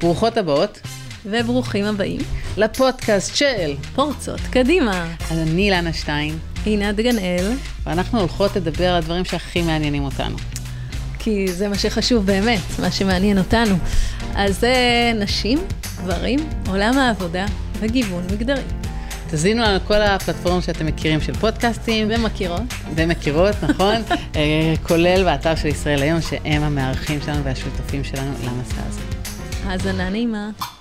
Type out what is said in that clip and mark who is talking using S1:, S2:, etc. S1: ברוכות הבאות
S2: וברוכים הבאים,
S1: לפודקאסט של...
S2: פורצות קדימה.
S1: אז אני אילנה שטיין,
S2: עינת גנאל,
S1: ואנחנו הולכות לדבר על הדברים שהכי מעניינים אותנו.
S2: כי זה מה שחשוב באמת, מה שמעניין אותנו. אז זה נשים, גברים, עולם העבודה וגיוון מגדרי.
S1: תזינו לנו כל הפלטפורמות שאתם מכירים של פודקאסטים,
S2: ומכירות,
S1: ומכירות, נכון? אה, כולל באתר של ישראל היום, שהם המארחים שלנו והשותפים שלנו למסע הזה.
S2: האזנה נעימה.